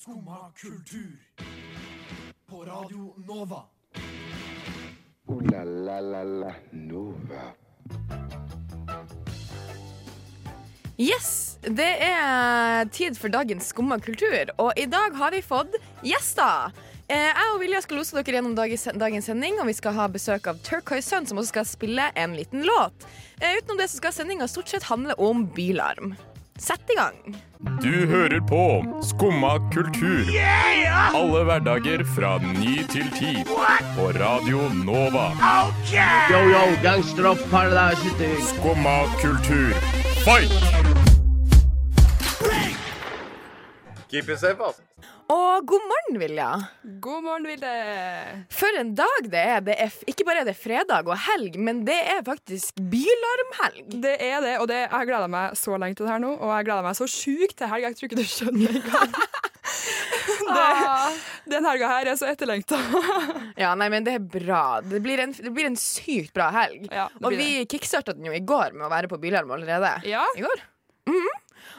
Skumma kultur. På Radio Nova. Ooh la la la la Nova. Yes, det er tid for dagens skumma kultur, og i dag har vi fått gjester. Eh, Jeg og Vilja skal lose dere gjennom dagens dagens sending, og vi skal ha besøk av Turquoise Sun, som også skal spille en liten låt. Eh, Utenom det så skal sendinga stort sett handle om bilarm. Sett i gang. Du hører på Skumma kultur. Alle hverdager fra ny til ti. På Radio Nova. Yo, yo, gangsteropp, paradise city. Skumma kultur. Fight! Og god morgen, Vilja. God morgen, Vilde! For en dag det er. Det er f- ikke bare er det fredag og helg, men det er faktisk bilarmhelg. Det er det, og det, jeg har gleda meg så lenge til det her nå. Og jeg gleder meg så sjukt til helg. Jeg tror ikke du skjønner engang. Det- Den helga her er så etterlengta. Ja, nei, men det er bra. Det blir en, det blir en sykt bra helg. Ja, det og blir vi kickstarta den jo i går med å være på bilarm allerede. Ja. I går. Mhm.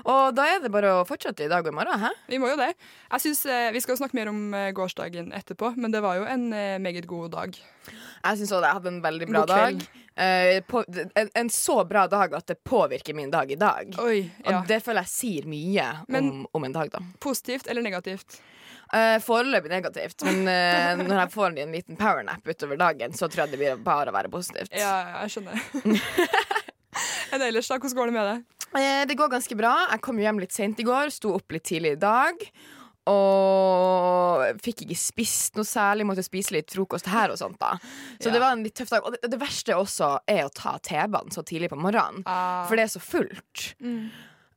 Og da er det bare å fortsette i dag og i morgen, hæ? Vi må jo det. Jeg synes, eh, Vi skal snakke mer om eh, gårsdagen etterpå, men det var jo en eh, meget god dag. Jeg syns òg det. Jeg hadde en veldig bra God kveld. dag. Eh, på, en, en så bra dag at det påvirker min dag i dag. Oi, Og ja. det føler jeg sier mye om, Men- om en dag, da. Positivt eller negativt? Eh, foreløpig negativt, men eh, når jeg får en liten powernap utover dagen, så tror jeg det blir bare å være positivt. Ja, jeg skjønner. Enn ellers, da? Hvordan går det med deg? Eh, Det går ganske bra. Jeg kom jo hjem litt sent i går, sto opp litt tidlig i dag. Og fikk ikke spist noe særlig, måtte spise litt frokost her og sånt. da Så Ja. det var en litt tøff dag. Og det, det verste også er å ta T-banen så tidlig på morgenen, Ah. for det er så fullt. Mm.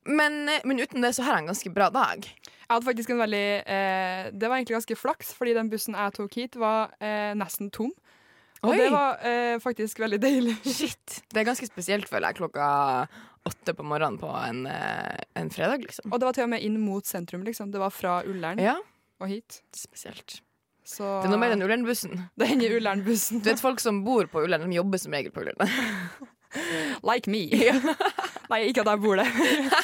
Men, eh, men uten det så har jeg en ganske bra dag. Jeg hadde faktisk en veldig eh, Det var egentlig ganske flaks, fordi den bussen jeg tok hit, var eh, nesten tom. Og Oi. det var eh, faktisk veldig deilig. Shit! Det er ganske spesielt, føler jeg, klokka åtte på morgenen på en, eh, en fredag, liksom. Og det var til og med inn mot sentrum, liksom. Det var fra Ullern Ja, og hit. spesielt. Så Det er noe mer enn Ullern-bussen. det hender Ullern-bussen. Du vet, folk som bor på Ullern, de jobber som regel på Ullern. Like me. Nei, ikke at jeg bor der.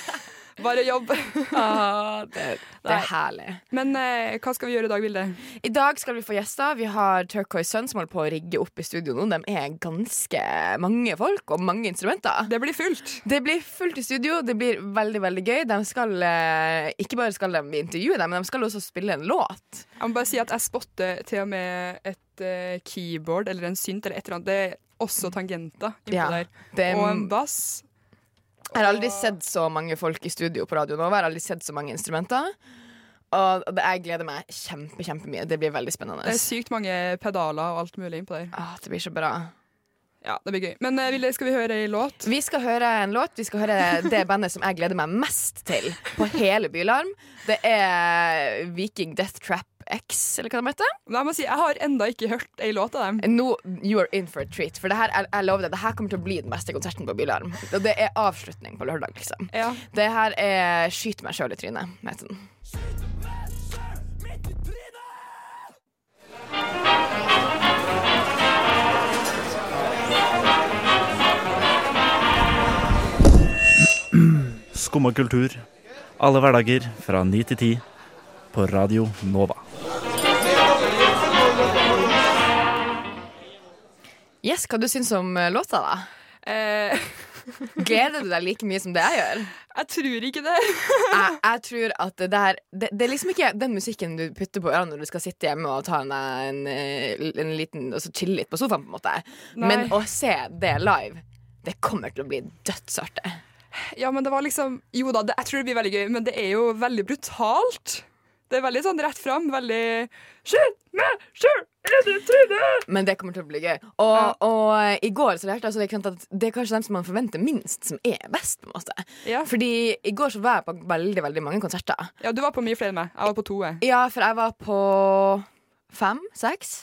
Bare jobb. Ah, det, det Nei. er herlig. Men eh, hva skal vi gjøre i dag, Vilde? I dag skal vi få gjester. Vi har Turquoise Sun som holder på å rigge opp i studio nå. De er ganske mange folk og mange instrumenter. Det blir fullt. Det blir fullt i studio. Det blir veldig veldig gøy. De skal, eh, ikke bare skal de intervjue deg, men de skal også spille en låt. Jeg må bare si at jeg spotter til og med et eh, keyboard eller en synt eller et eller annet. Det er også tangenter innpå Ja, der. det er- Og en bass. Jeg har aldri sett så mange folk i studio på Radio Nova. Jeg har aldri sett så mange instrumenter. Og det, jeg gleder meg kjempe, kjempemye. Det blir veldig spennende. Det er sykt mange pedaler og alt mulig innpå der. Ah, det blir så bra. Ja, det blir gøy. Men eh, Vilde, skal vi høre ei låt? Vi skal høre en låt. Vi skal høre det bandet som jeg gleder meg mest til på hele Bylarm. Det er Viking Death Trap X, eller hva de heter. Men jeg må si, jeg har enda ikke hørt ei låt av dem. Nå, you are in for a treat. For det her, jeg, jeg lover deg, det her kommer til å bli den beste konserten på Bylarm. Og det er avslutning på lørdag, liksom. Ja. Det her er Skyt meg sjøl i trynet, heter den. Skumma kultur. Alle hverdager fra 9 til 10 på Radio Nova. Yes, hva du syns om eh, låta, da? Eh, Gleder du deg like mye som det jeg gjør? jeg tror ikke det. jeg, jeg tror at det der det, det er liksom ikke den musikken du putter på ørene når du skal sitte hjemme og ta en, en, eh, en liten Og så chille litt på sofaen, på en måte. Nei. Men å se det live, det kommer til å bli dødsartig. Ja, men det var liksom Jo da, det, jeg tror det blir veldig gøy, men det er jo veldig brutalt. Det er veldig sånn rett fram. Veldig Skyt meg sjøl i det trynet! Men det kommer til å bli gøy. Og, og i går så lærte jeg altså, det, er klart at det er kanskje dem som man forventer minst, som er best. på en måte Ja. Fordi i går så var jeg på veldig veldig mange konserter. ja, du var på mye flere enn meg. Jeg var på to. Jeg. Ja, for jeg var på fem, seks,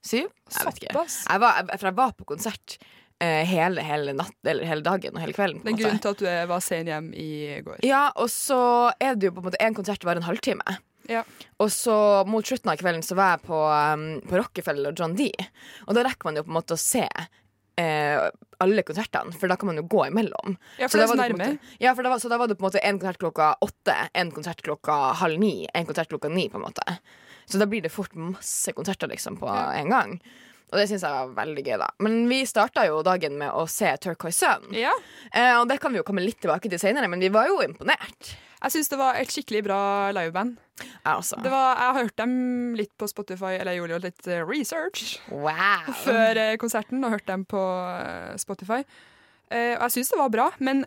syv. Jeg vet ikke. Såpass. Jeg var, jeg, for jeg var på konsert eh, hele, hele, natt, eller hele dagen og hele kvelden. På Det er en en grunn måte. til at du eh, var sen hjem i går. Ja, og så er det jo på en måte en konsert var en halvtime. Ja. Og så mot slutten av kvelden så var jeg på, um, på Rockefeller og John D. Og da rekker man jo på en måte å se eh, eh, alle konsertene, for da kan man jo gå imellom. Ja, Så for det da er så var det på en nærme. måte- Ja, for da var, så da var det på en måte en konsert klokka åtte, en konsert klokka halv ni, en konsert klokka ni, på en måte. Så da blir det fort masse konserter liksom på en gang. Og det syns jeg var veldig gøy, da. Men vi starta jo dagen med å se Turquoise Sun. Ja. Eh, og det kan vi jo komme litt tilbake til seinere, men vi var jo imponert. Jeg syns det var et skikkelig bra liveband. Jeg også. Det var, jeg har hørt dem litt på Spotify, eller jeg gjorde jo litt eh, research wow. før eh, konserten og hørte dem på eh, Spotify. Eh, Og jeg syns det var bra, men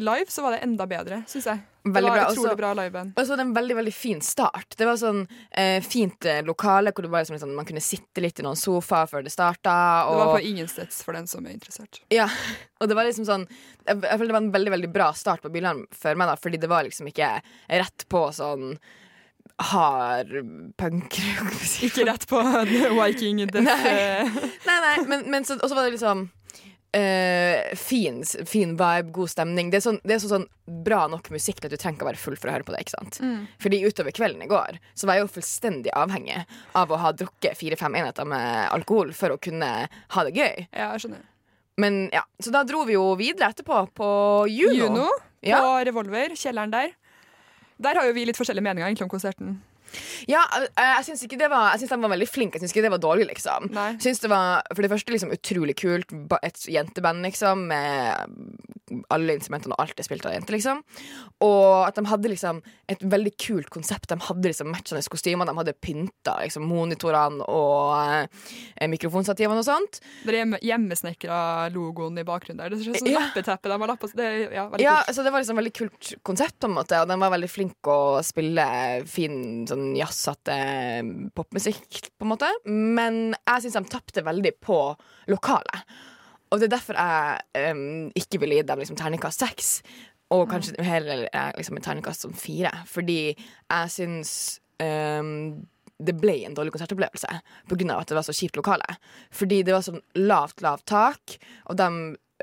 live så var det enda bedre, syns jeg. Veldig det var bra, Altså, utrolig også- bra liveband. Og så var det en veldig veldig fin start. Det var sånn eh, fint eh, lokale hvor det var liksom, litt sånn, man kunne sitte litt i noen sofaer før det starta. Og, Det var på Ingensteds for den som er interessert. Ja, og det var liksom sånn Jeg, jeg føler det var en veldig veldig bra start på Bylarm for meg, da, fordi det var liksom ikke rett på sånn hard punk. Ikke rett på Viking Death. eh, Nei, nei, men, men så, og så var det liksom eh, fin, s- fin vibe, god stemning. Det er, sånn, det er så sånn bra nok musikk til at du trenger ikke å være full for å høre på det. ikke sant? Fordi utover kvelden i går Så var jeg jo fullstendig avhengig av å ha drukket fire-fem enheter med alkohol for å kunne ha det gøy. Ja, jeg skjønner. Men ja, Så da dro vi jo videre etterpå på Juno. Juno på Ja. Revolver, kjelleren der. Der har jo vi litt forskjellige meninger egentlig om konserten. Ja, eh, jeg syns ikke det var Jeg syns de var veldig flinke. Jeg syns ikke det var dårlig, liksom. Nei. Jeg syns det var for det første liksom utrolig kult. ba- Et jenteband, liksom, med alle instrumentene og alt det spilte av jenter, liksom. Og at de hadde liksom et veldig kult konsept. De hadde liksom matchende kostymer, de hadde pynta liksom, monitorene og eh, mikrofonstativene og sånt. Det er hjemme, hjemmesnekra logoen i bakgrunnen der. Det er sånn Ja. lappeteppe de har lappa Det er ja, veldig Ja, kult. så det var liksom veldig kult konsept, på en måte. Og de var veldig flinke å spille fin sånn jazzete popmusikk, på en måte. Men jeg syns de tapte veldig på lokalet. Og det er derfor jeg em, ikke ville gi dem liksom terningkast seks. Og kanskje heller eh, liksom et terningkast som fire. Fordi jeg syns em, det ble en dårlig konsertopplevelse pga. at det var så kjipt lokale. Fordi det var sånn lavt, lavt tak, og de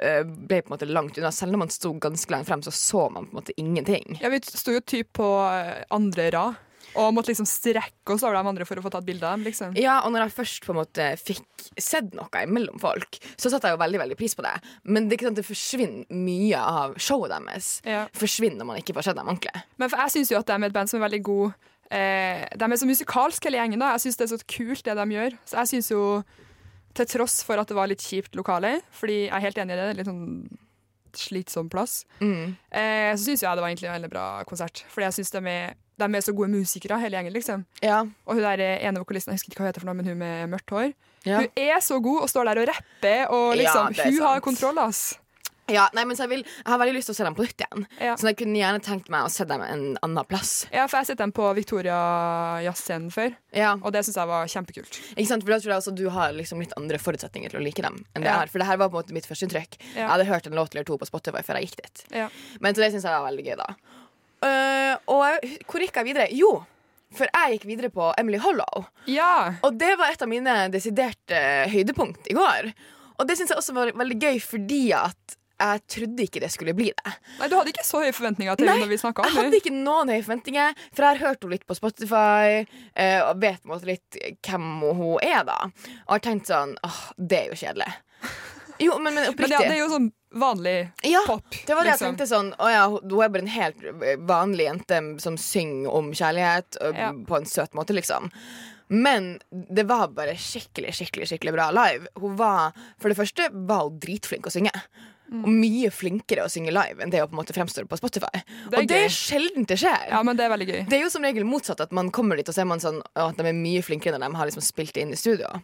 eh, ble på en måte langt unna. Selv når man sto ganske langt frem, så så man på en måte ingenting. Ja, vi sto jo typ på eh, andre rad og måtte liksom strekke oss over de andre for å få tatt bilde av dem. liksom. Ja, og når jeg først på en måte fikk sett noe mellom folk, så satte jeg jo veldig veldig pris på det. Men det, er ikke sant, det forsvinner mye av showet deres. Ja. Forsvinner når man ikke får sett dem ordentlig. Men for jeg syns jo at de er et band som er veldig god eh, De er så musikalske, hele gjengen. da. Jeg syns det er så kult, det de gjør. Så jeg syns jo, til tross for at det var litt kjipt lokale, fordi jeg er helt enig i det, det er litt sånn slitsom plass, eh, så syns jeg det var egentlig en veldig bra konsert. Fordi jeg syns de, er- de er så gode musikere, hele gjengen, liksom. Ja. Og hun der eh, ene vokalisten, jeg husker ikke hva hun heter for noe, men hun med mørkt hår. Ja. Hun er så god og står der og rapper, og Ja, liksom, det er hun har sant. kontroll, ass. nei, men så jeg, vil, jeg har veldig lyst til å se dem på nytt igjen. Ja. Så jeg kunne gjerne tenkt meg å se dem en annen plass. Ja, for jeg har sett dem på Victoria Jazzscenen før, Ja. og det syns jeg var kjempekult. Ikke sant? For da tror jeg også du har liksom litt andre forutsetninger til å like dem enn det Ja. jeg har. For det her var på en måte mitt førsteinntrykk. Ja. Jeg hadde hørt en låt eller to på Spotify før jeg gikk dit. Ja. Men så det syns jeg var veldig gøy, da. Eh, og jeg- hvor gikk jeg videre? Jo, for jeg gikk videre på Emily Hollow. Ja. Og det var et av mine desiderte høydepunkt i går. Og det syns jeg også var veldig gøy fordi at jeg trodde ikke det skulle bli det. Nei, Du hadde ikke så høye forventninger til Nei, henne når vi snakka Jeg om hadde henne. ikke noen høye forventninger, for jeg har hørt henne litt på Spotify eh, og vet på en måte litt hvem hun er, da. Og har tenkt sånn åh, det er jo kjedelig. Jo, men, men Men ja, oppriktig. det er jo sånn vanlig Ja, pop. det var det jeg liksom. tenkte sånn Å ja, hun hun er bare en helt vanlig jente som synger om kjærlighet ø, Ja. på en søt måte, liksom. Men det var bare skikkelig skikkelig, skikkelig bra live. Hun var, For det første var hun dritflink å synge. Mm. Og mye flinkere å synge live enn det hun på en måte fremstår på Spotify. Det er og det gøy. er sjelden det skjer. Ja, men det er veldig gøy. Det er jo som regel motsatt, at man kommer dit og ser man sånn, «Å, at de er mye flinkere når de har liksom spilt det inn i studio.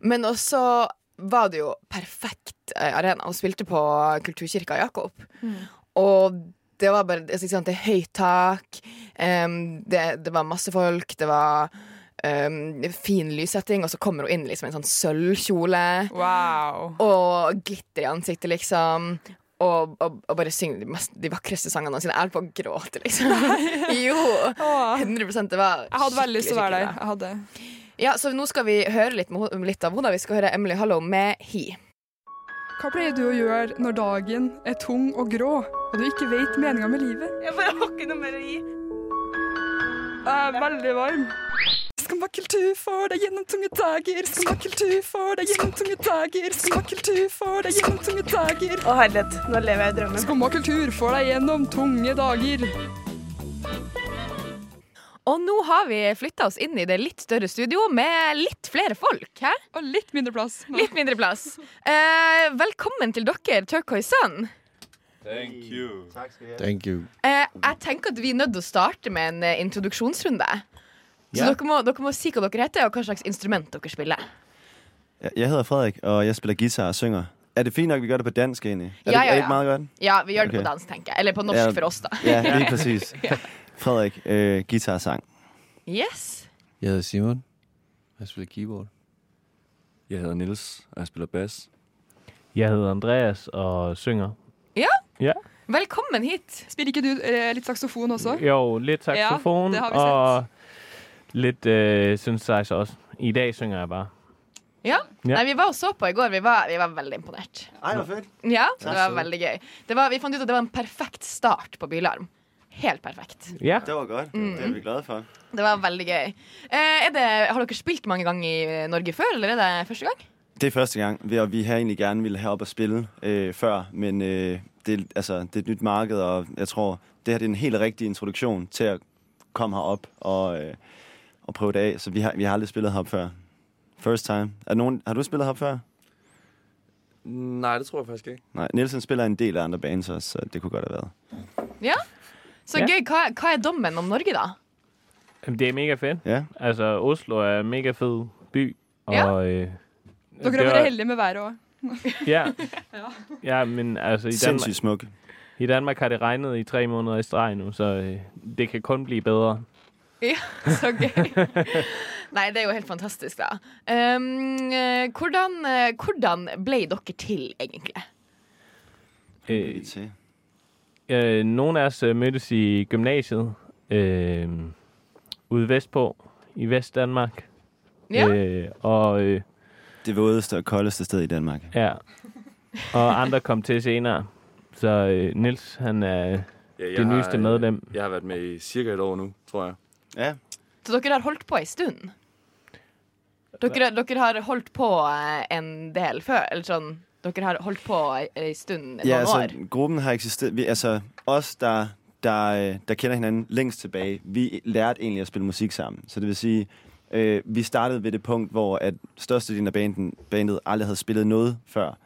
Men også var det jo perfekt eh, arena. Hun spilte på Kulturkirka Jakob. Og det var bare altså, ikke sant, Det er høyt tak, em, det, det var masse folk, det var em, fin lyssetting, og så kommer hun inn liksom, i en sånn sølvkjole. Wow. Og glitter i ansiktet, liksom. Og, og, og bare synge de, mest, de vakreste sangene sine. Jeg er på å gråte, liksom. jo! Åh. 100 det var Jeg hadde veldig lyst til å være der. skikkelig bra. Jeg hadde. Ja, så nå skal vi høre litt, med, ho- litt av henne. da. Vi skal høre Emily Hallow med He. Hva pleier du å gjøre når dagen er tung og grå, og du ikke vet meninga med livet? Jeg bare har ikke noe mer å gi. Jeg er veldig varm. Skummakultur får deg gjennom tunge dager. Skummakultur får deg gjennom tunge dager. Skummakultur får deg gjennom tunge dager. Å herlighet, nå lever jeg i drømmen. Skummakultur får deg gjennom tunge dager. Og nå har vi flytta oss inn i det litt større studio med litt flere folk. Hæ? Og litt mindre plass. Litt mindre plass. Eh, velkommen til dere, Turquoise Sun. Thank you. Thank you. Eh, jeg tenker at vi er nødt til å starte med en eh, introduksjonsrunde. Så Ja. dere, må, dere må si hva dere heter, og hva slags instrument dere spiller. Jeg- Jeg hedder Frederik, og jeg spiller guitar og synger. Er det fint nok, at vi gør det på dansk egentlig? Er Ja, det, ja, Er det ja. ikke meget godt? Ja, vi gjør det Ok. på dansk, tenker jeg. Eller på norsk Ja. for oss, da. Ja, lige præcis. Frederik, øh, guitar og sang. Yes. Jeg hedder Simon. Jeg spiller keyboard. Jeg hedder Nils, og jeg spiller bass. Jeg hedder Andreas og synger. Velkommen hit. Spiller ikke du eh, litt saksofon også? Jo, lidt saxofon det har vi og lidt øh, synthesizer også. I dag synger jeg bare. Ja. Ja. Nei, vi var og så på i går. Vi var, vi var veldig imponert. Ej, hvor fedt. Ja, det var veldig gøy. Det var, vi fant ut at det var en perfekt start på Bylarm. Helt perfekt. Ja, Det var godt. Mm. Det er vi glade for. Det var veldig gøy. Eh, er det, har dere spilt mange ganger i eh, Norge før, eller er det første gang? Det er første gang, vi- og vi her egentlig gerne ville herop og spille øh, før, men øh, det, er- altså, det er et nyt marked, og jeg tror, det her det er en helt rigtig introduktion til at komme herop og, øh, og prøve det af. Så vi har, vi har aldrig spillet herop før. First time. Er nogen, har du spillet herop før? Nej, det tror jeg faktisk ikke. Nej, Nielsen spiller en del af andre bands også, så det kunne godt have været. Så Ja. gøy. Hva, hva er dommen om Norge, da? Jamen, det er mega fedt. Ja. Altså, Oslo er en mega fed by. Og, Ja. øh, Dere har vært heldige med været òg. Ja. ja, men altså, i Danmark, Sindssygt smuk. i Danmark har det regnet i tre måneder i streg nu, så øh, det kan kun blive bedre. Så gøy. Nei, det er jo helt fantastisk, da. Um, eh, hvordan, eh, hvordan ble dere til, egentlig? Øh, øh, nogle af os øh, mødtes i gymnasiet øh, ude vestpå, i Vestdanmark. Ja. Øh, og øh, Det vådeste og koldeste sted i Danmark. ja, og andre kom til senere. Så øh, Nils, han øh, er Ja, øh, det nyeste medlem. Jeg har vært med i cirka et år nu, tror jeg. Ja. Så dere har holdt på ei stund? Dere, dere har holdt på eh, en del før? Eller sånn Dere har holdt på ei- ei stund noen ja, altså, år? gruppen har eksisteret. Vi, altså, os, der, der, øh, der kender hinanden længst tilbage, vi lærte egentlig at spille musik sammen. Så det vil sige, øh, vi startede ved det punkt, hvor at størstedelen af banden, bandet aldrig havde spillet noget før.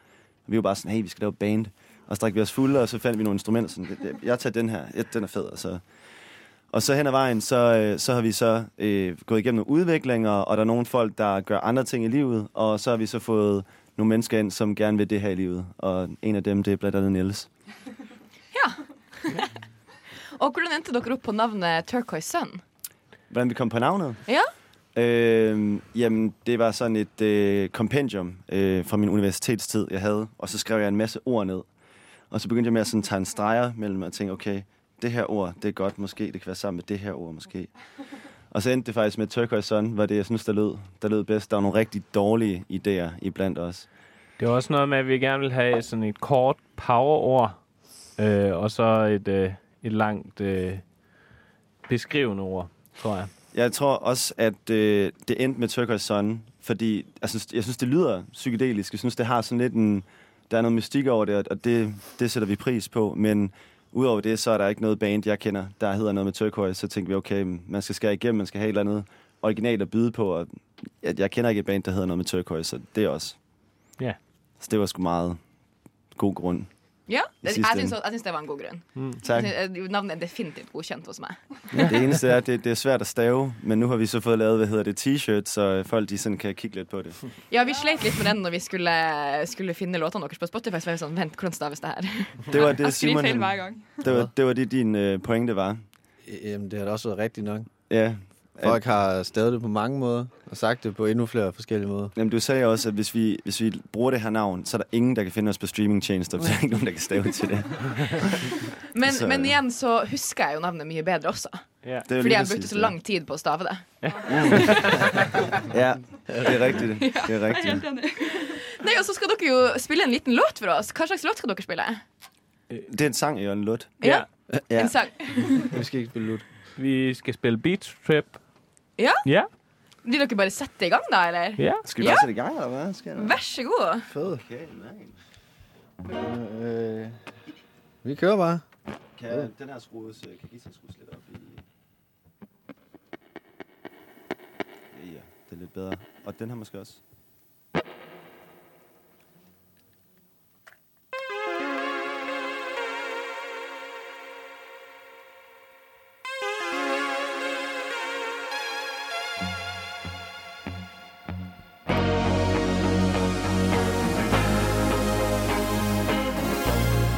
Vi var bare sådan, hey, vi skal lave et band. Og så drak vi os fulde, og så fandt vi nogle instrumenter. Sådan, "Det- det- jeg tager den her, ja, den er fed. Og så, og så hen ad vejen, så, øh, så har vi så øh, gået igennem nogle udviklinger, og der er nogle folk, der gør andre ting i livet, og så har vi så fået nogle mennesker ind, som gerne vil det her i livet. Og en af dem, det er blandt andet Niels. Og hvordan endte dere opp på navnet Turquoise Sun? Hvordan vi kom på navnet? Ja. Øh, jamen, det var sådan et øh, kompendium øh, fra min universitetstid, jeg havde. Og så skrev jeg en masse ord ned. Og så begyndte jeg med at sådan tage en streger mellem og tænke, okay, det her ord, det er godt måske. Det kan være sammen med det her ord måske. Og så endte det faktisk med Turquoise Sun, var det, jeg synes, der lød, der lød bedst. Der var nogle rigtig dårlige idéer iblandt os. Det var også noget med, at vi gerne ville have sådan et kort powerord, øh, og så et, øh, et langt øh, beskrivende ord, tror jeg. Jeg tror også, at øh, det endte med Turquoise Sun, fordi jeg synes, jeg synes, det lyder psykedelisk. Jeg synes, det har sådan lidt en... Der er noget mystik over det, og- og det, det sætter vi pris på, men udover det, så er der ikke noget band, jeg kender, der hedder noget med Turquoise. Så tænkte vi, okay, man skal skære igennem, man skal have et eller andet originalt at byde på, og jeg, jeg kender ikke et band, der hedder noget med Turquoise, så det er også. Ja. Så det var sgu meget god grund. Ja, I jeg, siste Mm, jeg, syns, ende. jeg syns det var en god grunn. Tak. Jeg syns- eh, Navnet er definitivt godkjent hos meg. Det eneste er, at det, det er svært at stave, men nu har vi så fået lavet, hvad hedder det, t-shirt, så folk de sådan kan kigge lidt på det. Ja, Vi sleit litt med den når vi skulle, skulle finne låtene deres på Spotify. Så var vi sånn, vent, hvordan staves det her? Det var det, altså, Jeg skriver Simon... feil han- hver gang. Det var, det var det, din øh, pointe var. E, Jamen, det har da også været rigtigt nok. Ja. Folk har stadig det på mange måder, og sagt det på endnu flere forskellige måder. Jamen, du sagde også, at hvis vi, hvis vi bruger det her navn, så er der ingen, der kan finde os på streamingtjenester, for der er ikke nogen, der kan stave til det. Men, Så- men igjen så husker jeg jo navnet mye bedre også. Ja. det er jo Fordi lige jeg præcis brukte så det. lang tid på å stave det. Ja, det er rigtigt. Det er Jeg er helt rigtigt. enig. Nei, Og så skal dere jo spille en liten låt for oss. Hva slags låt skal dere spille? Det er en sang, Jørgen Lund. Ja, Ja. En sang. Vi skal ikke spille lut. Vi skal spille Beach Trip. Ja? Ja. Vil dere bare sette i gang, da, eller? Skal vi bare sætte i gang, eller hvad? Skal der- Vær så god. Fed. Okay, nice. Øh, vi kører bare. Kan den her skrues, kan guitar skrues lidt op i... Ja, ja, det er lidt bedre. Og den her måske også.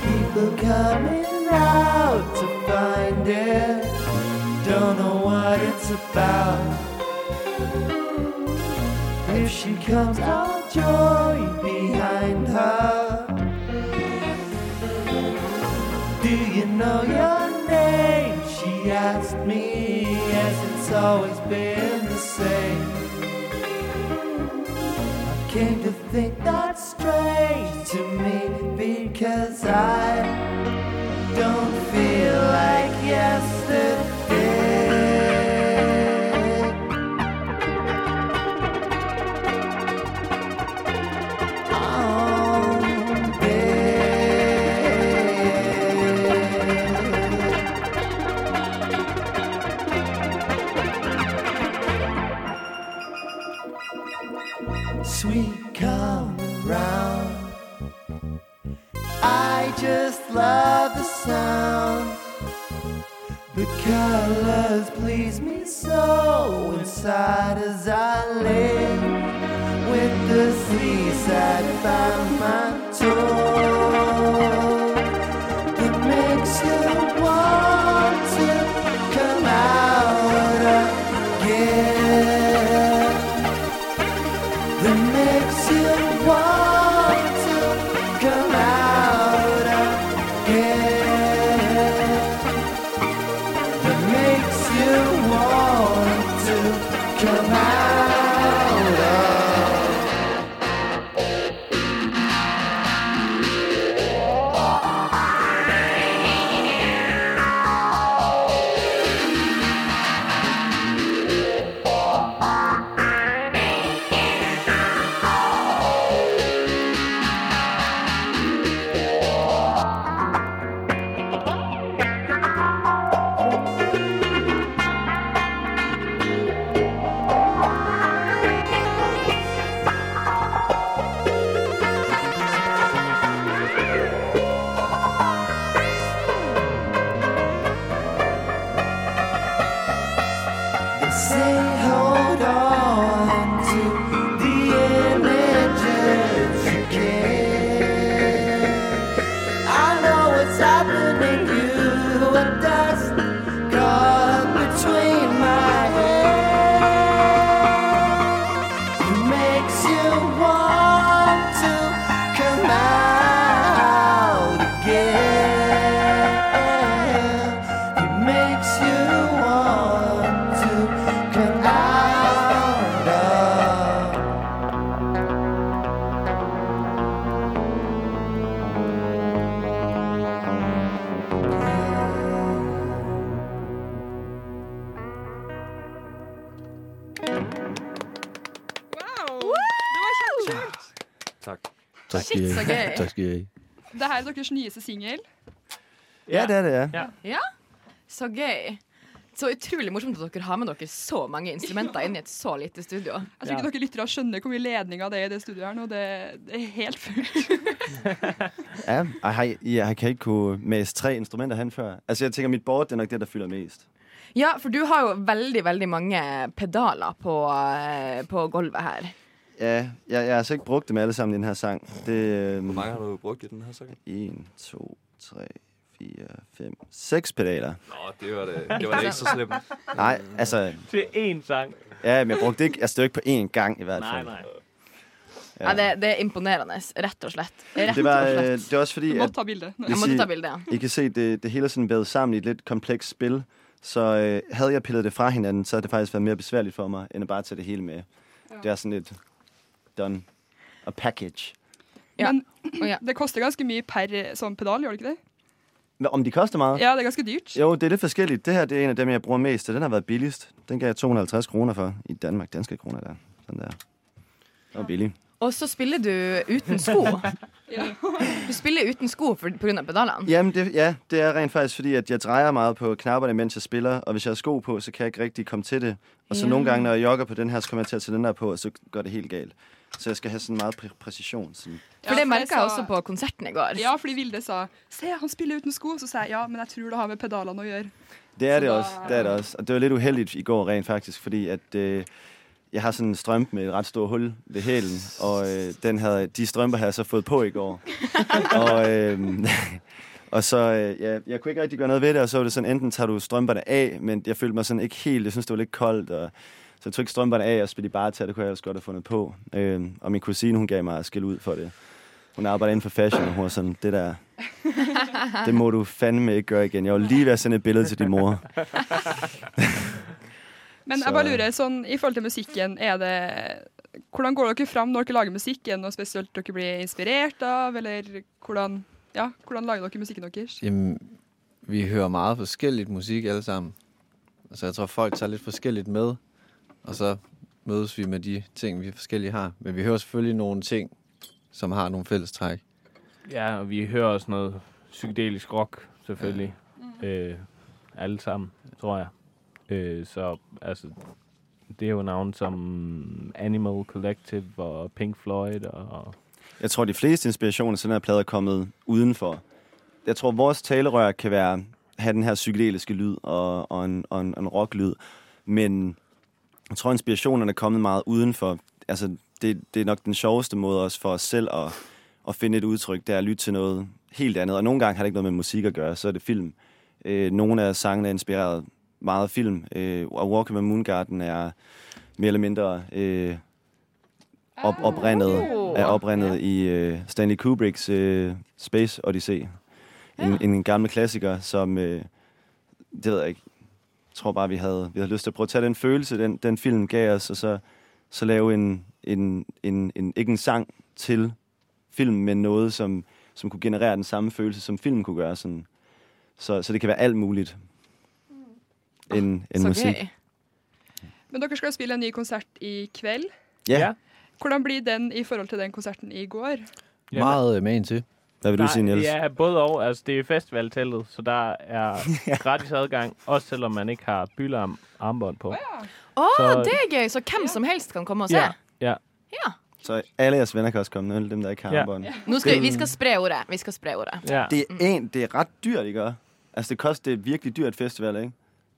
People coming out to find it. Don't know what it's about. If she comes, I'll join behind her. Do you know your name? She asked me, as it's always been the same. I came to think that's strange to me because I don't feel like yesterday. Oh, babe. Sweet, come round. I just love the sound. The colors please me so inside as I lay with the seaside by my toe. That makes you want to come out again. That makes you want to come out again. That makes you want to come out They say hold on to the images you get. I know what's happening, you and dust caught between my hands. It makes you want to come out again. It makes you want to come out of. Takk. Tak, Shit, skal I så have. gøy. Tak skal I have. Det her er deres nyeste singel. Ja, det er det, ja. Ja? Så gøy. Så utrolig morsomt at dere har med dere så mange instrumenter inn i et så lite studio. Jeg tror ikke dere lyttere skjønner hvor mye ledning av det er i det studioet her nå. Det, det er helt fullt. Ja, ej, hej, ja, jeg kan ikke kunne mase tre instrumenter hen før. Altså, jeg tænker, mit board det er nok det, der fylder mest. Ja, for du har jo veldig, veldig mange pedaler på, eh, på gulvet her. Ja, jeg, jeg har altså ikke brugt dem alle sammen i den her sang. Det, øhm, Hvor mange har du brugt i den her sang? 1, 2, 3, 4, 5, 6 pedaler. Nå, det var det, det, var det ikke så slemt. Nej, altså... Til én sang. Ja, men jeg brugte ikke, altså, det var ikke på én gang i hvert Nej, fald. nej. Ja. det, det er imponerende, rett og slett. Rett Det var, og øh, slett. det var også fordi, Du måtte at- ta bilde. Hvis Jeg måtte I- ta bilde, ja. I kan se, det, det hele er sådan vævet sammen i et lidt komplekst spil. Så øh, havde jeg pillet det fra hinanden, så havde det faktisk været mere besværligt for mig, end at bare tage det hele med. Det er sådan et done. A package. Men det koster ganske mye per eh, sånn pedal, gjør det ikke det? Hva, Om de koster meget? Ja, det er ganske dyrt. Jo, det er lidt forskelligt. Det her det er en af dem, jeg bruger mest, og den har været billigst. Den gav jeg 250 kroner for i Danmark. Danske kroner der. Sådan der. Det var billig. Og så spiller du uten sko. Du spiller uten sko pga. pedalene. Jamen, det, ja, det er rent faktisk, fordi at jeg drejer meget på knapperne, mens jeg spiller, og hvis jeg har sko på, så kan jeg ikke rigtig komme til det. Og så Ja. nogle gange, når jeg jogger på den her, så kommer jeg til at tage den der på, og så går det helt galt. Så jeg skal have sådan meget præ- præcision. Sådan. For det merka jeg også på konserten i går. Ja, fordi Vilde sa 'se, han spiller uten sko', så sa jeg ja, men jeg tror det har med pedalene å gjøre. Det er det også, det er det også. Og det var lidt uheldigt i går rent faktisk, fordi at øh, jeg har sådan en strømpe med et ret stort hul ved hælen, og øh, den havde, de strømper havde jeg så fået på i går. og, øh, og så, øh, ja, jeg kunne ikke rigtig gøre noget ved det, og så var det sådan, enten tager du strømperne af, men jeg følte mig sådan ikke helt, jeg synes, det var lidt koldt, og så jeg tog ikke strømperne af, og spillede bare til, og det kunne jeg også godt have fundet på. Øh, og min kusine, hun gav mig skæld ud for det. Hun arbejder inden for fashion, og hun var sådan, det der, det må du fandme ikke gøre igen. Jeg var lige ved at sende et billede til din mor. Men jeg bare lurer, sånn, i forhold til musikken, er det Hvordan går dere fram når dere lager musikk? Er det noe spesielt dere blir inspirert av, eller hvordan, ja, hvordan lager dere musikken deres? Jamen, vi hører meget forskelligt musik alle sammen. Så jeg tror, folk tager lidt forskelligt med, og så mødes vi med de ting, vi forskellige har. Men vi hører selvfølgelig nogle ting, som har nogle fællestræk. Ja, og vi hører også noget psykedelisk rock, selvfølgelig. Øh, alle sammen, tror jeg. Øh, så altså, det er jo navn som Animal Collective og Pink Floyd og... Jeg tror, de fleste inspirationer til den her plade er kommet udenfor. Jeg tror, vores talerør kan være have den her psykedeliske lyd og, og en, og en, og en rocklyd, men jeg tror, inspirationerne er kommet meget udenfor. Altså, det, det er nok den sjoveste måde også for os selv at, at finde et udtryk, det er at lytte til noget helt andet. Og nogle gange har det ikke noget med musik at gøre, så er det film. Øh, nogle af sangene er inspireret meget af film, øh, og Walking with Moon Garden er mere eller mindre øh, op, oprindet, er oprindet i øh, Stanley Kubricks øh, Space Odyssey. En, en gammel klassiker, som, øh, det ved jeg ikke, jeg tror bare, vi havde, vi havde lyst til at prøve at tage den følelse, den, den film gav os, og så, så lave en, en, en, en, ikke en sang til filmen, men noget, som, som kunne generere den samme følelse, som filmen kunne gøre. Sådan. Så, så det kan være alt muligt. En, en musik. Men dere skal jo spille en ny konsert i kveld. Ja. Ja. Hvordan blir den i forhold til den konserten i går? Meget øh, med en til. Hvad vil du Der- sige, Niels? Ja, både og. Altså, det er festivalteltet, så der er gratis adgang, også selvom man ikke har bylarm armbånd på. Å, Så- det er gøy! Så hvem som helst kan komme og se. ja. Ja. Så alle jeres venner kan også komme, nu, dem der ikke har Ja. armbånd. Nå skal, vi- Det- vi skal spre ordet. Vi skal spre ordet. Det, er en, det er ret dyrt, ikke? også? Altså, det koster det er virkelig dyrt festival, ikke?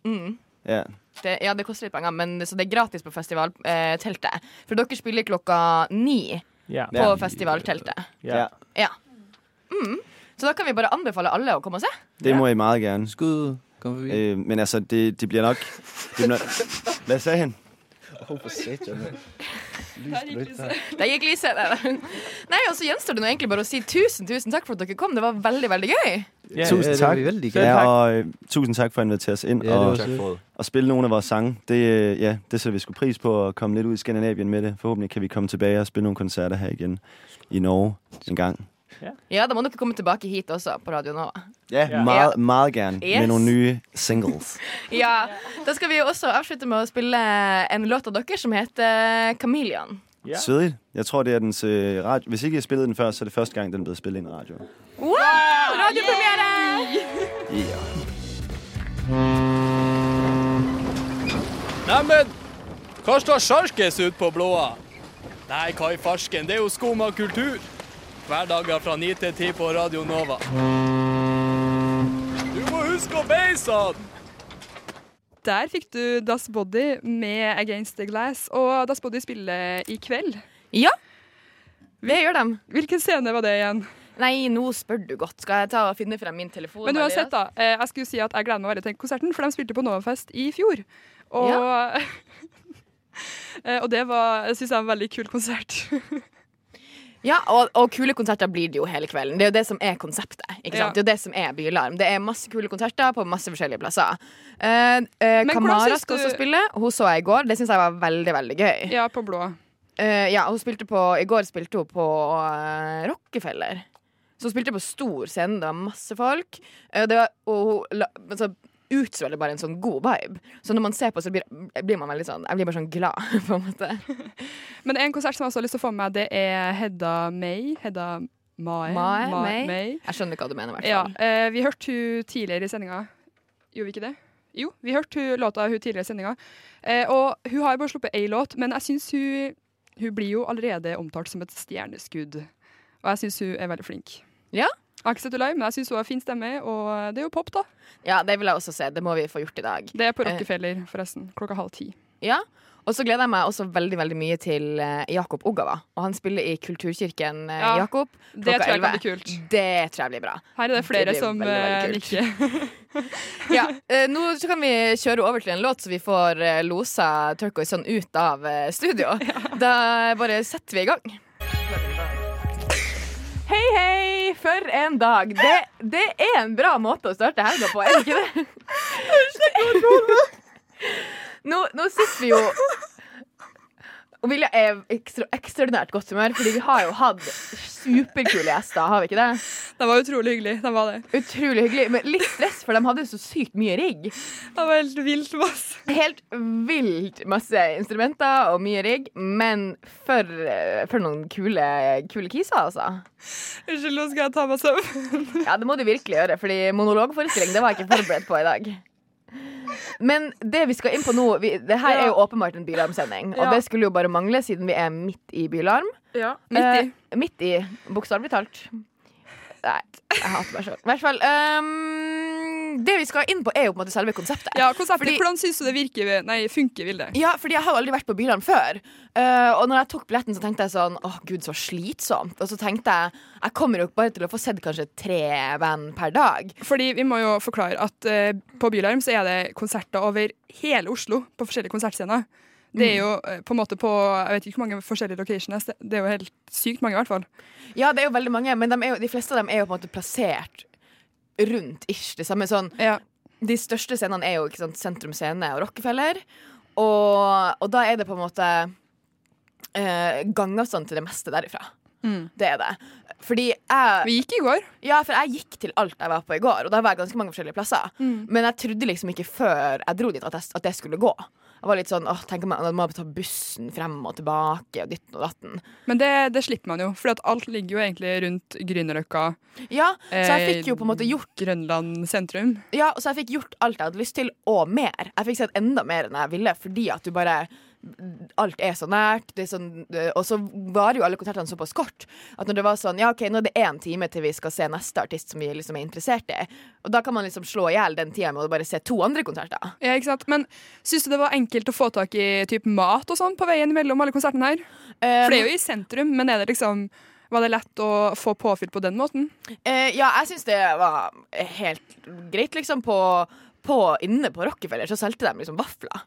Mm. Ja. Det, ja, det koster litt penger, men så det er gratis på festivalteltet. For dere spiller klokka ni Ja. på Ja. festivalteltet. ja. Ja. Mm. Så da kan vi bare anbefale alle å komme og se. Det må I meget gerne. Skud, kom forbi. Øh, men altså, det, det bliver nok... Det bliver... nok- Hvad sagde han? Åh, for satan, mand. Der gikk lyset. Der. Nei, og så gjenstår det nå egentlig bare å si tusen, tusen takk for at dere kom. Det var veldig, veldig gøy. Ja, tusind ja, det tak. var vi vældig ja, glade for. og øh, tusind tak for at invitere os ind Ja, det var og, Tak for det. og spille nogle af vores sange. Det, øh, ja, det sætter vi sgu pris på at komme lidt ud i Skandinavien med det. Forhåbentlig kan vi komme tilbage og spille nogle koncerter her igen i Norge en gang. Ja, da må dere komme tilbake hit også, på Radio Nova. Ja, Ja. meget, meget gerne Yes. med nogle nye singles. Ja, Da skal vi også avslutte med å spille en låt av dere som heter 'Kamelian'. Ja. Svedigt. Jeg tror, det er dens øh, radio. Hvis ikke jeg spillede den før, så er det første gang, den er blevet spillet ind i radioen. Wow! Radiopremiere! Yeah. Neimen, hva står sjarkes ut på blåa? Nei, hva i farsken, det er jo skum av kultur. Hverdager fra 9 til 10 på Radio Nova. Du må huske å sånn. beise han! Der fikk du Das Body med Against the Glass, og Das Body spiller i kveld. Ja, det gjør de. Hvilken scene var det igjen? Nei, nå spør du godt. Skal jeg ta og finne frem min telefon? Men eller? uansett, da. eh, Jeg skulle si at jeg gleder meg veldig til konserten, for de spilte på Novafest i fjor. Og, Eh, og det var, jeg synes jeg var en veldig kul konsert. Ja, og, og kule konserter blir det jo hele kvelden. Det er jo det som er konseptet. Ikke sant? Ja. Det er jo det som er Bylarm. Det er masse kule konserter på masse forskjellige plasser. Eh, eh, Men hvordan Kamara synes skal du- også spille. Hun så jeg i går. Det syns jeg var veldig, veldig gøy. Ja, på blå. ja, hun spilte på I går spilte hun på eh, Rockefeller. Så hun spilte på stor scene, det var masse folk. eh, Det var, og hun la- altså, utstråler bare en sånn god vibe. Så når man ser på, så blir, blir man veldig sånn Jeg blir bare sånn glad, på en måte. Men en konsert som jeg også har lyst til å få med meg, det er Hedda May. Hedda Mai. Mai, Ma- May. Jeg skjønner hva du mener, i hvert Ja, fall. eh, vi hørte hun tidligere i sendinga. Gjorde vi ikke det? Jo, vi hørte hun låta hun tidligere i sendinga. Eh, og hun har jo bare sluppet én låt, men jeg syns hun, hun blir jo allerede omtalt som et stjerneskudd. Og jeg syns hun er veldig flink. Ja? Jeg har ikke sett henne live, men jeg syns hun har fin stemme, og det er jo pop, da. Ja, det vil jeg også se. Det må vi få gjort i dag. Det er på Eh, Rockefeller, forresten. Klokka halv ti. Ja. Og så gleder jeg meg også veldig veldig mye til eh, Jakob Ogawa. Og han spiller i Kulturkirken eh, Ja, Jakob det klokka tror jeg 11. kan bli kult. Det tror jeg blir bra. Her er det flere blir som veldig, veldig eh, kult. nikker. ja, eh, nå så kan vi kjøre over til en låt, så vi får eh, losa Turquoise sånn ut av eh, studio. Da bare setter vi i gang. Hei, hei, for en dag. Det, det er en bra måte å starte helga på, er det ikke det? Nå, nå sitter vi jo Og Vilja er i ekstra, ekstraordinært godt humør, fordi vi har jo hatt superkule gjester, har vi ikke det? De var utrolig hyggelige. De var det. Utrolig hyggelig, men litt stress, for de hadde jo så sykt mye rigg. Det var helt vilt masse. Helt vilt masse instrumenter og mye rigg, men for, eh, for noen kule, kule kiser, altså. Unnskyld, nå skal jeg ta meg sammen. ja, det må du virkelig gjøre, fordi monologforestilling det var jeg ikke forberedt på i dag. Men det vi skal inn på nå vi, Det her er jo åpenbart en Bylarm-sending, og Ja. det skulle jo bare mangle siden vi er midt i Bylarm. Ja, midt i. Eh, midt i, bokstavelig talt. Nei, jeg hater meg sjøl. I hvert fall. ehm, det vi skal inn på, er jo på en måte selve konseptet. Ja, konseptet. Fordi- Hvordan syns du det virker? ved- Nei, funker, vil det? ja, fordi jeg har jo aldri vært på Bylarm før. Eh, og når jeg tok billetten, så tenkte jeg sånn Å, gud, så slitsomt. Og så tenkte jeg jeg kommer jo bare til å få sett kanskje tre band per dag. Fordi vi må jo forklare at eh, på Bylarm så er det konserter over hele Oslo på forskjellige konsertscener. Det er jo eh, på en måte på Jeg vet ikke hvor mange forskjellige locations. Det- Det er jo helt sykt mange, i hvert fall. Ja, det er jo veldig mange, men de, er jo, de fleste av dem er jo på en måte plassert rundt ish. Det samme sånn De største scenene er jo ikke sant, Sentrum Scene og Rockefeller. Og, og da er det på en måte eh, gangavstand til det meste derifra. Det er det. Fordi jeg Vi gikk i går. Ja, for jeg gikk til alt jeg var på i går, og da var jeg ganske mange forskjellige plasser. Mm. Men jeg trodde liksom ikke før jeg dro dit at jeg, at jeg skulle gå. Jeg var litt sånn åh, tenk om jeg da må jeg ta bussen frem og tilbake og ditten og datten. Men det, det slipper man jo, for alt ligger jo egentlig rundt Grünerløkka. Ja, så jeg fikk jo på en måte gjort Grønland sentrum. Ja, så jeg fikk gjort alt jeg hadde lyst til, og mer. Jeg fikk sett enda mer enn jeg ville, fordi at du bare Alt er så nært. Det er sånn, og så varer jo alle konsertene såpass kort at når det var sånn Ja, OK, nå er det én time til vi skal se neste artist som vi liksom er interessert i. Og da kan man liksom slå i hjel den tida med å bare se to andre konserter. Ja, ikke sant? Men syns du det var enkelt å få tak i typ mat og sånn på veien mellom alle konsertene her? Eh, For det er jo i sentrum, Eh, men er det liksom var det lett å få påfyll på den måten? Eh, ja, jeg syns det var helt greit, liksom. På, på, inne på Rockefeller så solgte de liksom vafler.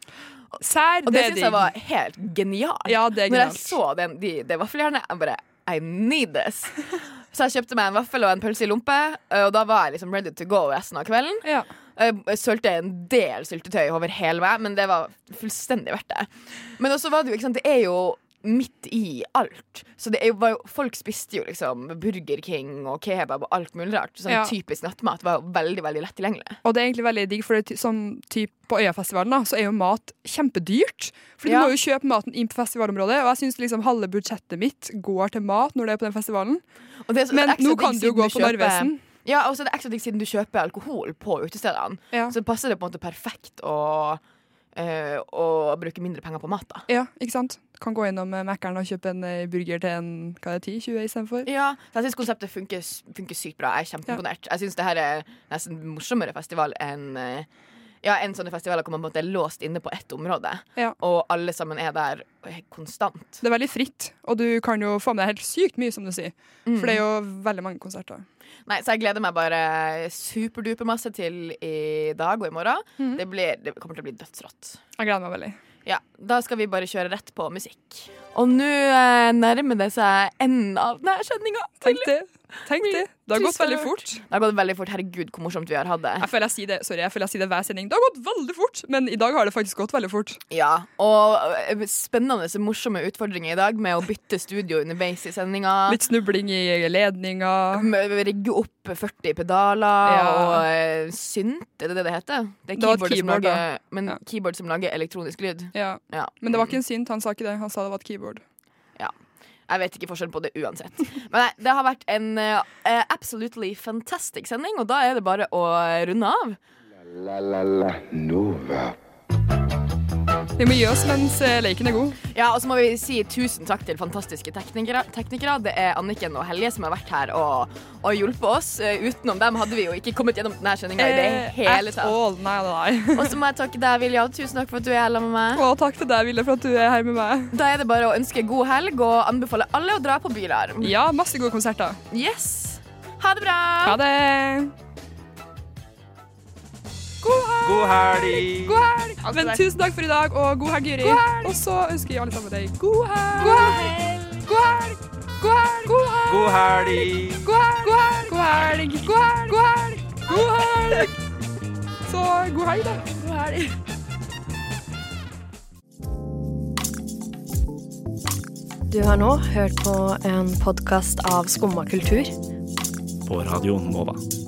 Sær, og det det er syns jeg digg. var helt genialt. Ja, det er Når jeg genialt. så den, de, det vaffeljernet, jeg bare I need this. Så jeg kjøpte meg en vaffel og en pølse i lompe, og da var jeg liksom ready to go resten av kvelden. Eh, Jeg sølte en del syltetøy over hele meg, men det var fullstendig verdt det. Men også var det jo, ikke sant, det er jo midt i alt. Så det er jo, var jo, folk spiste jo liksom Burger King og kebab og alt mulig rart. Sånn Ja. typisk nattmat var jo veldig, veldig lett tilgjengelig. Og det er egentlig veldig digg, for det er ty- sånn typ på Øyafestivalen da, så er jo mat kjempedyrt. For Ja. du må jo kjøpe maten inn på festivalområdet, og jeg syns liksom halve budsjettet mitt går til mat når det er på den festivalen. Og det er så Men ekstra nå digg kan du jo siden gå på kjøper- Narvesen. Ja, og så er det ekstra digg siden du kjøper alkohol på utestedene. Så passer det på en måte perfekt å, eh, å bruke mindre penger på mat, da. Ja, ikke sant? Kan gå innom eh, Mækkern og kjøpe en eh, burger til en hva er det, 10-20 istedenfor. Ja, så jeg syns konseptet funker, s- funker sykt bra. Jeg er kjempeimponert. Jeg syns det her er nesten morsommere festival enn eh, ja, en sånne festivaler hvor man på en måte er låst inne på ett område, og alle sammen er der eh, konstant. Det er veldig fritt, og du kan jo få med deg helt sykt mye, som du sier. Mm. For det er jo veldig mange konserter. Nei, så jeg gleder meg bare superduper masse til i dag og i morgen. Det, blir, det kommer til å bli dødsrått. Jeg gleder meg veldig. Ja, Da skal vi bare kjøre rett på musikk. Og nå eh, nærmer det seg enden av denne sendinga. Tenk det. Det har gått veldig fort. Det har gått veldig fort. Herregud, hvor morsomt vi har hatt det. Jeg føler jeg sier det, sorry, jeg føler jeg sier det hver sending. Det har gått veldig fort, men i dag har det faktisk gått veldig fort. Ja, og eh, spennende og morsomme utfordringer i dag med å bytte studio underveis i sendinga. Litt snubling i ledninga. Rigge opp 40 pedaler Ja. og eh, synt, er det det det heter? Det er Det var et keyboard, som keyboard, lager, da. men keyboard som lager elektronisk lyd. Ja. Men det var ikke en synt, han sa ikke det. Han sa det var et keyboard. Ja. Jeg vet ikke forskjell på det uansett. Men nei, det har vært en eh, absolutely fantastic sending, og da er det bare å eh, runde av. La la la Nova. Vi må gi oss mens eh, leken er god. Ja, og så må vi si tusen takk til fantastiske teknikere. teknikere. Det er Anniken og Helje som har vært her og, og hjulpet oss. Eh, Utenom dem hadde vi jo ikke kommet gjennom denne sendinga i det Eh, hele at tatt. all. Nei, nei, nei. Og så må jeg takke deg, Vilja. Tusen takk for at du er her med meg. Og takk til deg, Ville, for at du er her med meg. Da er det bare å ønske god helg og anbefale alle å dra på Bylarm. Ja, masse gode konserter. Yes. Ha det bra. Ha det! God helg! God helg! Alt det Men der. tusen takk for i dag, og god helg, Juri. God helg! Og så ønsker vi alle sammen deg god helg! God helg! God helg! God helg! God helg! God helg! God helg! God helg! God helg! God helg! God helg! Så god helg, da. God helg. Du har nå hørt på en podkast av Skumma kultur. På Radio Nova.